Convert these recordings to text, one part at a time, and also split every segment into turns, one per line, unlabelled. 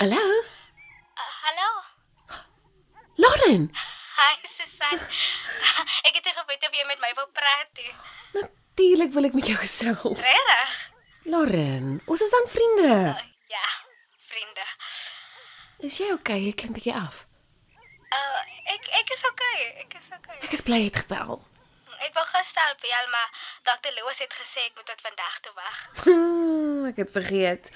Hallo,
Hallo.
Lauren.
Hi Susan. ek het geweet of jy met my wou praat. hè.
Natuurlik wil ek met jou gesels.
Regtig?
Lauren, ons is aan vriende.
Ja, vriende.
Is jy okay? Ek klink bietjie af.
Uh, ek ek is okay. Ek is okay.
Ek is bly jy het gebel.
Ek wou gestel by jou, maar Dr. Loos het gesê ek moet tot vandag toe wag.
Hmm, ek het vergeet.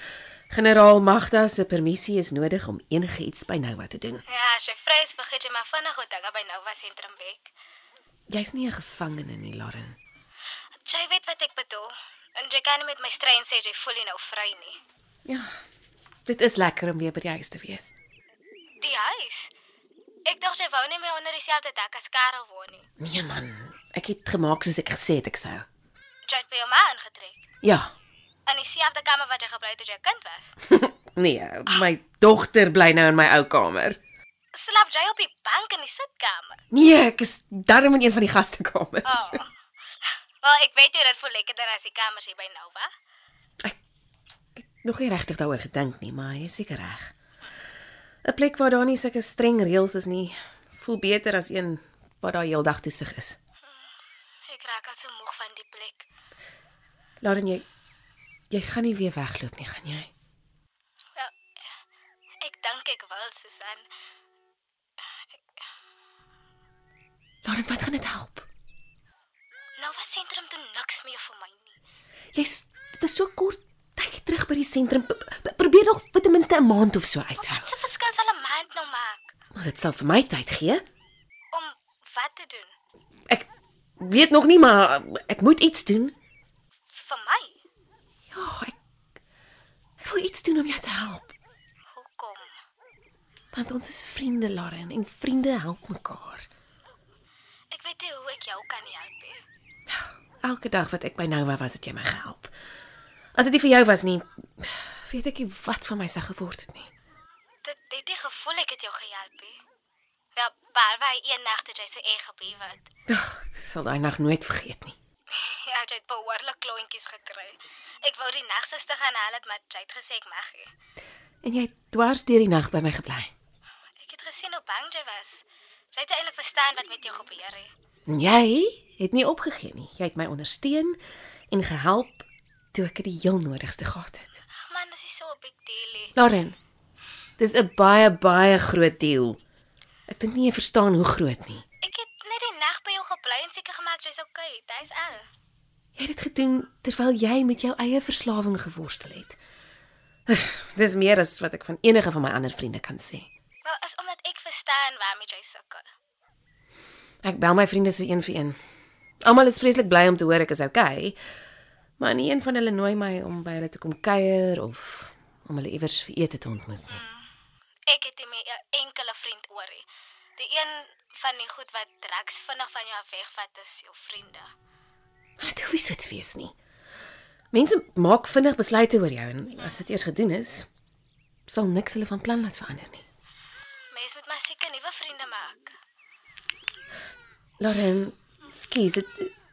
Generaal Magda se permissie is nodig om enige iets by nou wat te doen.
Ja, as jy vrees vergeet jy maar vinnig hoe dinge by Nova Sentrum werk.
Jy's nie 'n gevangene nie, Lauren.
Jy weet wat ek bedoel. En jy kan nie met my strei en sê jy voel nie nou vry nie.
Ja. Dit is lekker om weer by die huis te wees.
Die huis. Ek dink jy wou nie meer onder dieselfde dak as Karel woon nie.
Nee man, ek het gemaak soos ek gesê het ek sou.
Jy het by jou ma ingetrek.
Ja.
In dieselfde kamer wat jy gebly het toe jy kind was.
Nee, my dogter bly nou in my ou kamer.
Slaap jy op die bank in die sitkamer?
Nee, ek is darm in een van die gastekamers.
Oh. Wel, ek weet jy dit voel lekkerder as die kamers hier by Nova.
Nog nie regtig daaroor gedink nie, maar jy is seker reg. 'n Plek waar daar nie sulke streng reëls is nie, voel beter as een waar daar heeldag toesig is.
Ek raak al so moeg van die plek.
Lauren, jy jy gaan nie weer wegloop nie, gaan jy?
Wel, ek dink ek wil, Susan.
Lauren, wat gaan dit help?
Nova sentrum doen niks meer vir my nie.
Jy's vir so kort tyd terug by die sentrum. P- p- Probeer nog vir ten minste 'n maand of so
Wat
uithou.
se verskil sal 'n maand nou maak
Maar dit sal vir my tyd gee.
om wat te doen
Ek weet nog nie, maar ek moet iets doen.
vir my?
Ja, ek ek wil iets doen om jou te help.
Hoekom?
Want ons is vriende, Lauren, en vriende help mekaar.
Ek weet nie hoe ek jou kan help nie.
Elke dag wat ek by Nova was, het jy my gehelp. As dit nie vir jou was nie, weet ek nie wat van my sou geword het nie.
Dit het die gevoel ek het jou gehelp nie. Wel, baie eendag toe jy so eeg gebeur het.
Ag, Ek sal daai nag nooit vergeet nie.
Ja, jy het behoorlik klontjies gekry. Ek wou die nagsuster gaan haal het, maar jy het gesê ek mag nie.
En jy het dwars deur die nag by my gebly.
Ek het gesien hoe bang jy was. Jy het eintlik verstaan wat met jou gebeur het.
En jy het nie opgegee nie. Jy het my ondersteun en gehelp toe ek dit die heel nodigste gehad het.
Ag man, dis nie so 'n big deal nie.
Lauren, dis 'n baie baie groot deal. Ek dink nie jy verstaan hoe groot nie.
Ek het net die nag by jou gebly en seker gemaak jy's okay. Dis al.
Jy het dit gedoen terwyl jy met jou eie verslawing geworstel het. Ugh, Dis meer as wat ek van enige van my ander vriende kan sê.
Wel, is omdat ek verstaan waarmee jy sukkel.
Ek bel my vriende so een vir een. Almal is vreeslik bly om te hoor ek is okay, maar nie een van hulle nooi my om by hulle te kom kuier of om hulle iewers vir ete te ontmoet nie.
Ek het nie meer 'n enkele vriend oor nie. Die een van die goed wat drugs vinnig van jou af wegvat is jou vriende.
Maar dit hoef nie so te wees nie. Mense maak vinnig besluite oor jou en as dit eers gedoen is, sal niks hulle van plan laat verander nie.
Mens moet maar seker nuwe vriende maak.
Lauren, skus, dit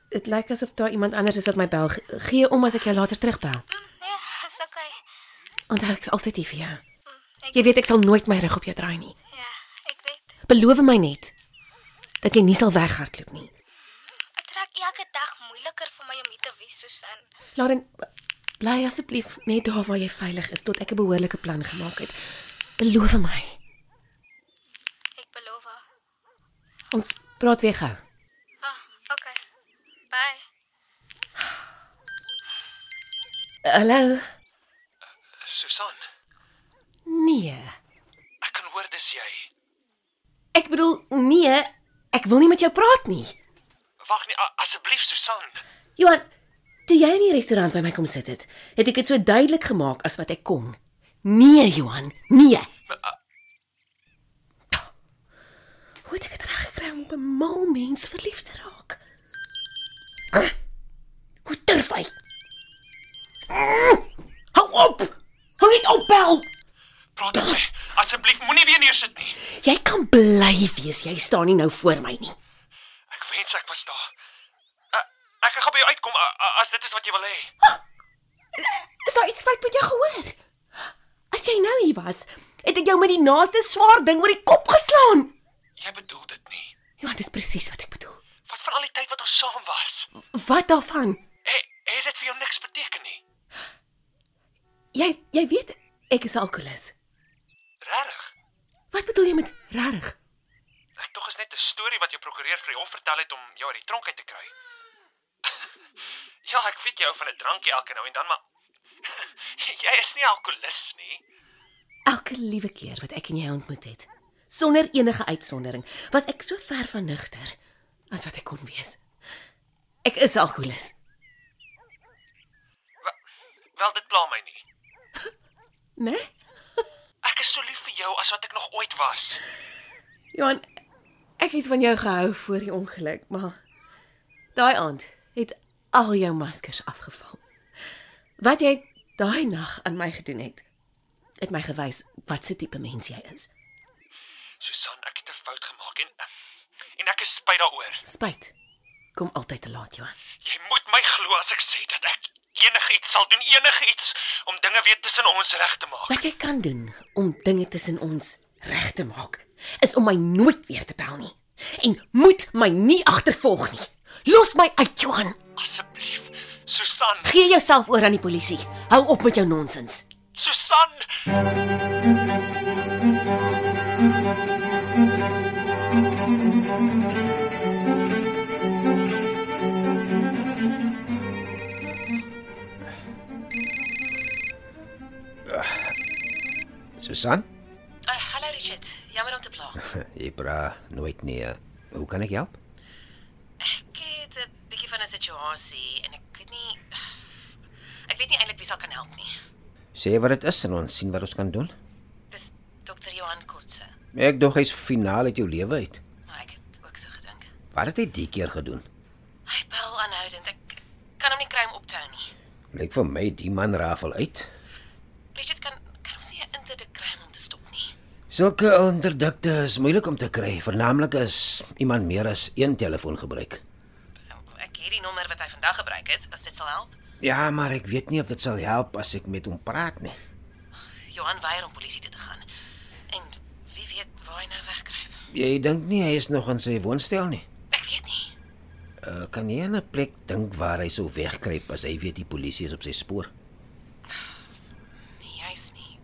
dit lyk asof daar iemand anders is wat my bel. Ge- Gee om as ek jou later terugbel.
Mm, nee, is okay.
Onthou ek's altyd hier vir jou.
Mm, ek
Jy weet ek sal nooit my rug op jou draai nie.
Ja, ek weet.
Beloof my net dat jy nie sal weghardloop nie.
Dit raak elke dag moeiliker vir my om hier te wees, Susan.
Lauren, b- bly asseblief net daar waar jy veilig is tot ek 'n behoorlike plan gemaak het. Beloof my.
Ek beloof.
Ons praat weer gou.
Ah, oh, okay. Bye.
Hallo?
Susan,
Nee.
ek kan hoor dis jy.
Ek bedoel nee, ek wil nie met jou praat nie.
Wag nee, a- asseblief Susan.
Johan, toe jy in die restaurant by my kom sit het, het ek dit so duidelik gemaak as wat ek kon. Nee, Johan, nee. Hoe het ek dit reg gekry om op 'n mal mens verlief te raak? Ah, Hoe durf hy? Ah, Hou op! Hou net op, Bel.
Praat met my. Asseblief moenie weer neersit nie.
Jy kan bly wees. Jy staan nie nou voor my nie.
Ek wens ek was daar. Ek, ek gaan by jou uitkom a- a- as dit is wat jy wil hê.
Is daar iets fout met jou gehoor? As jy nou hier was, het ek jou met die naaste swaar ding oor die kop geslaan.
Jy bedoel dit nie.
Ja, dis presies wat ek bedoel.
Wat van al die tyd wat ons saam was?
Wat daarvan?
Het het dit vir jou niks beteken nie?
Jy jy weet ek is 'n alkolikus.
Regtig?
Wat bedoel jy met regtig?
Ek tog is net 'n storie wat jou prokureur vir die hof vertel het om jou uit die tronk uit te kry. ja, ek weet jy hou van 'n drankie elke nou en dan, maar jy is nie alkolikus nie.
Elke liewe keer wat ek en jou ontmoet het, sonder enige uitsondering, was ek so ver van nugter as wat ek kon wees. Ek is 'n alkolikus.
Wel, dit pla my nie.
Né? Nee?
Ek is so lief vir jou as wat ek nog ooit was.
Johan, ek het van jou gehou voor die ongeluk, maar daai aand het al jou maskers afgeval. Wat jy daai nag aan my gedoen het, het my gewys wat se tipe mens jy is.
Susan, ek het 'n fout gemaak en en ek is spyt daaroor.
Spyt. Kom altyd te laat, Johan.
Jy moet my glo as ek sê dat ek enigiets sal doen, enigiets om dinge weer tussen ons reg te maak.
Wat jy kan doen om dinge tussen ons reg te maak, is om my nooit weer te bel nie en moet my nie agtervolg nie. Los my uit, Johan.
Asseblief, Susan,
Gee jouself oor aan die polisie. Hou op met jou nonsens.
Susan.
Susan,
Uh, hallo Richard. Jammer om te pla.
jy praat nooit nie. eh. Hoe kan ek help?
Ek het 'n bietjie van 'n situasie en ek weet nie ek weet nie eintlik wie sal kan help nie.
Sê wat dit is en ons sien wat ons kan doen.
Dis dokter Johan Kotse,
Ek dog hy's finaal uit jou lewe uit.
maar ek het ook so gedink.
Wat het hy die keer gedoen?
Hy bel aanhoudend. Ek ek kan hom nie kry om op te hou nie.
Lyk vir my die man rafel uit.
Richard kan kan ons nie 'n interdik kry om hom te stop nie.
Sulke onderdikte is moeilik om te kry, veralnik as iemand meer as een telefoon gebruik.
Ek het die nommer wat hy vandag gebruik het, as dit sal help.
Ja, maar ek weet nie of dit sal help as ek met hom praat nie.
Johan weier om polisie toe te gaan. En wie weet waar hy nou wegkruip.
Jy dink nie hy is nog in sy woonstel nie.
Ek weet nie.
Uh, kan jy aan 'n plek dink waar hy sou wegkruip as hy weet die polisie is op sy spoor?
Nee, juis nie.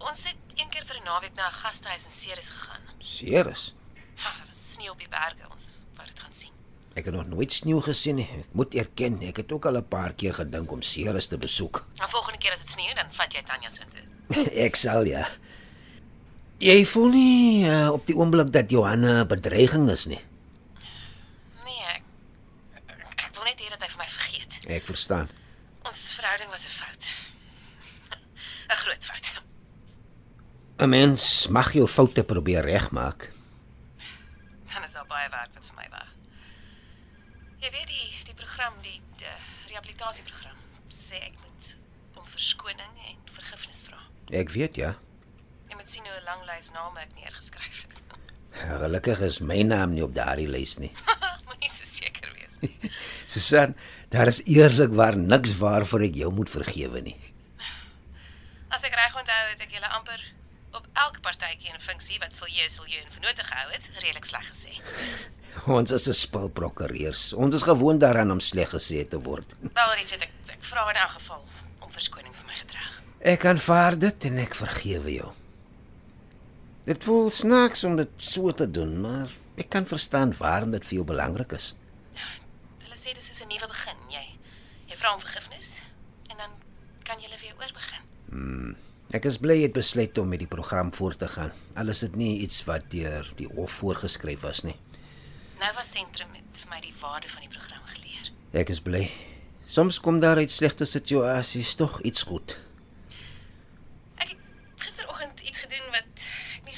Ons het een keer vir 'n naweek na 'n gastehuis in Ceres gegaan.
Seres.
Ja, daar was sneeu op die berge. Ons wou dit gaan sien.
Ek het nog nooit sneeu gesien nie. Ek moet erken, ek het ook al 'n paar keer gedink om Ceres te besoek.
Maar volgende keer as dit sneeu, dan vat jy Tanya se toe.
ek sal ja. Jy voel nie uh, op die oomblik dat Johanna 'n bedreiging is nie.
Nee, ek, ek ek wil net hê dat hy vir my vergeet.
Ek verstaan.
Ons verhouding was 'n fout. 'n Groot fout.
'n Mens mag jou foute probeer regmaak.
Dan is daar baie werk wat vir my wag. Jy weet die die program, die, die rehabilitasieprogram sê ek moet om verskoning en vergifnis vra.
Ek weet ja.
Jy moet sien hoe 'n lang lys name ek neergeskryf het.
Gelukkig is my naam nie op daardie lys nie.
Moenie so seker wees.
Susan, daar is eerlikwaar niks waarvoor ek jou moet vergewe nie.
As ek reg onthou het ek julle amper op elke partytjie en funksie wat sal jy sal jy in vennote gehou het, redelik sleg gesê.
Ons is 'n spul prokureurs. Ons is gewoond daaraan om sleg gesê te word.
Wel Richard, ek, ek vra in elk geval om verskoning vir my gedrag.
Ek aanvaar dit en ek vergewe jou. Dit voel snaaks om dit so te doen, maar ek kan verstaan waarom dit vir jou belangrik is.
Hulle sê dis soos 'n nuwe begin. Jy jy vra om vergifnis en dan kan jy weer oor begin.
Ek is bly jy het besluit om met die program voort te gaan. Al is dit nie iets wat deur die hof voorgeskryf was nie.
Nova Sentrum het vir my die waarde van die program geleer.
Ek is bly. Soms kom daar uit slegte situasies tog iets goed.
eh,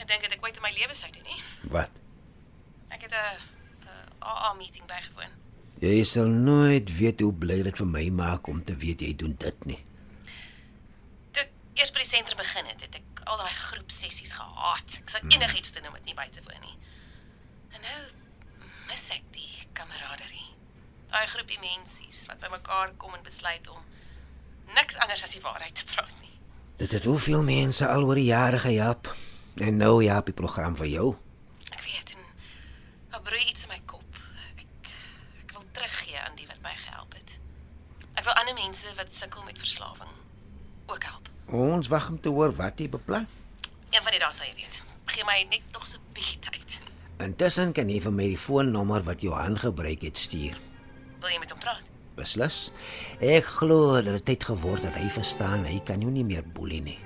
Jy sal nooit weet hoe bly dit vir my maak om te weet jy doen dit nie.
Toe ek eers by die sentrum begin het, het ek al daai groep sessies gehaat. Ek sou enigiets doen om dit nie by te woon nie. En nou mis ek die kameraderie. Daai groepie mensies wat bymekaar kom en besluit om niks anders as die waarheid te praat nie.
Dit het hoeveel mense al oor die jare gehelp. En nou ja, die program vir jou.
Ek weet en daar broei iets in my kop. Ek ek wil teruggee aan die wat my gehelp het. Ek wil ander mense wat sukkel met verslawing ook help.
Ons wag om te hoor wat jy beplan.
Een van die dae sal jy weet. Gee my net nog so 'n bietjie tyd.
Intussen kan jy vir my die foonnommer wat Johan gebruik het stuur.
Wil jy met hom praat?
Beslis. Ek glo dat dit tyd geword het hy verstaan hy kan jou nie meer boelie nie.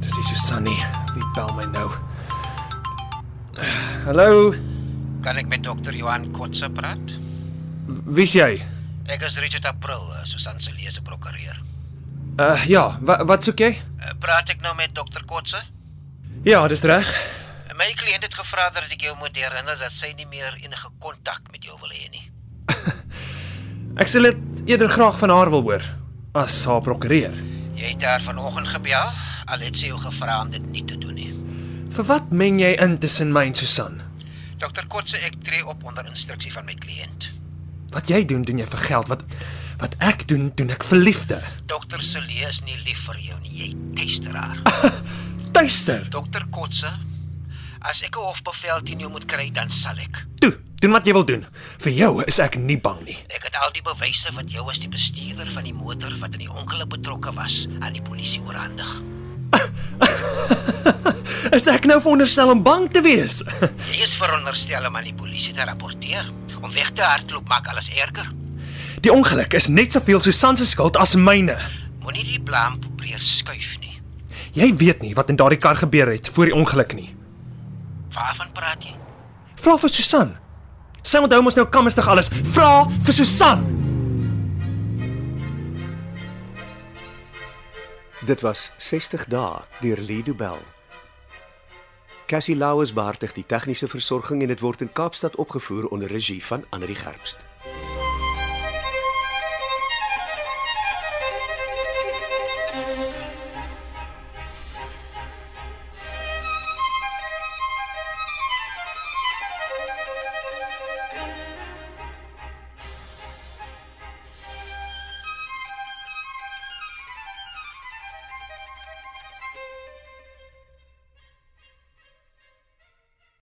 Dis nie Susan nie. Wie bel my nou? Hallo,
Kan ek met dokter Johan Kotse praat?
wie's jy?
Ek is Richard April, eh, Susan se leese prokureur.
Uh ja, wa wat soek jy?
Praat ek nou met dokter Kotse? Eh,
Ja, dis reg.
My kliënt het gevra dat ek jou moet herinner dat sy nie meer enige kontak met jou wil hê nie.
Ek sal dit eerder graag van haar wil hoor as haar prokureur.
Jy het haar vanoggend gebel, al het sy jou gevra om dit nie te doen nie.
Vir wat meng jy in tussen my en Susan?
Dokter Kotse, ek tree op onder instruksie van my kliënt.
Wat jy doen, doen jy vir geld. Wat wat ek doen, doen ek vir liefde.
Dokter Celie is nie lief vir jou nie, jy tuister haar.
Tuister.
Dokter Kotse, as ek 'n hofbevel teen jou moet kry, dan sal ek.
Toe, doen wat jy wil doen. Vir jou is ek nie bang nie.
Ek het al die bewyse wat jou as die bestuurder van die motor wat in die ongeluk betrokke was, aan die polisie oorhandig.
Is ek nou veronderstel om bang te wees?
Jy is veronderstel om aan die polisie te rapporteer. Om weg te hardloop maak alles erger.
Die ongeluk is net soveel Susan se skuld as myne.
Moenie die blame probeer skuif nie.
Jy weet nie wat in daardie kar gebeur het voor die ongeluk nie.
Waarvan praat jy?
Vra vir Susan. Sy onthou mos nou kamerstig alles. Vra vir Susan.
Dit was 60 dae deur Lido Bell. Cassie Lauers beheer die tegniese versorging en dit word in Kaapstad opgevoer onder regie van Anri Gerbst.